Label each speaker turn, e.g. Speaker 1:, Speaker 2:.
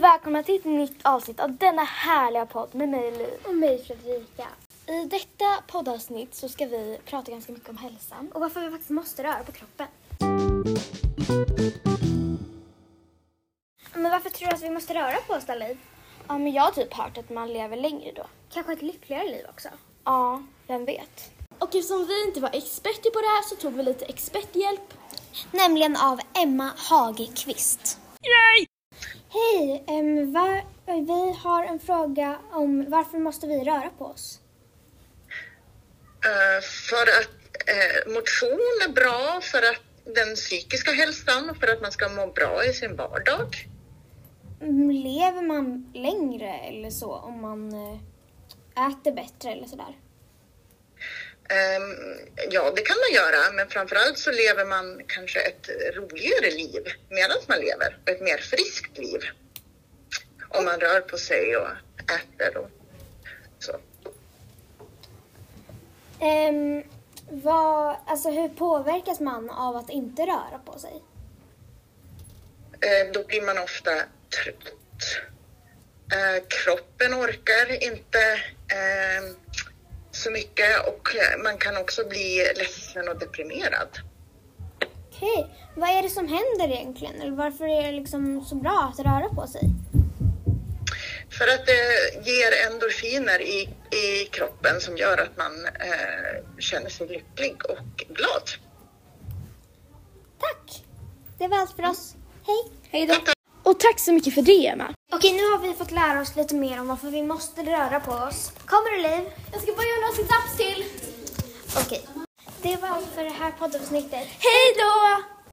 Speaker 1: välkomna till ett nytt avsnitt av denna härliga podd med mig Liv.
Speaker 2: Och mig Fredrika.
Speaker 1: I detta poddavsnitt så ska vi prata ganska mycket om hälsan.
Speaker 2: Och varför vi faktiskt måste röra på kroppen. Men varför tror du att vi måste röra på oss Dalin?
Speaker 1: Ja, men jag har typ hört att man lever längre då.
Speaker 2: Kanske ett lyckligare liv också.
Speaker 1: Ja, vem vet?
Speaker 3: Och eftersom vi inte var experter på det här så tog vi lite experthjälp.
Speaker 1: Nämligen av Emma Hagqvist.
Speaker 2: Hej! ehm, var, vi har en fråga om varför måste vi röra på oss?
Speaker 4: Eh, för att eh, motion är bra för att den psykiska hälsan och för att man ska må bra i sin vardag.
Speaker 1: Mm, Lever man längre eller så om man eh, äter bättre eller sådär?
Speaker 4: Ehm, ja, det kan man göra, men framförallt så lever man kanske ett roligare liv medan man lever och ett mer friskt liv. Om man rör på sig och äter och så.
Speaker 2: Ehm, vad, alltså hur påverkas man av att inte röra på sig?
Speaker 4: Eh, då blir man ofta trött. Eh, kroppen orkar inte eh, så mycket och eh, man kan också bli ledsen och deprimerad.
Speaker 2: Okej, vad är det som händer egentligen? Eller varför är det liksom så bra att röra på sig?
Speaker 4: För att det ger endorfiner i, i kroppen som gör att man eh, känner sig lycklig och glad.
Speaker 2: Tack! Det var allt för oss. Hej!
Speaker 3: Och tack så mycket för det Emma.
Speaker 2: Okej, nu har vi fått lära oss lite mer om varför vi måste röra på oss. Kommer du Liv?
Speaker 3: Jag ska bara göra några situps till.
Speaker 2: Okej. Det var allt för det här poddavsnittet.
Speaker 3: Hej då!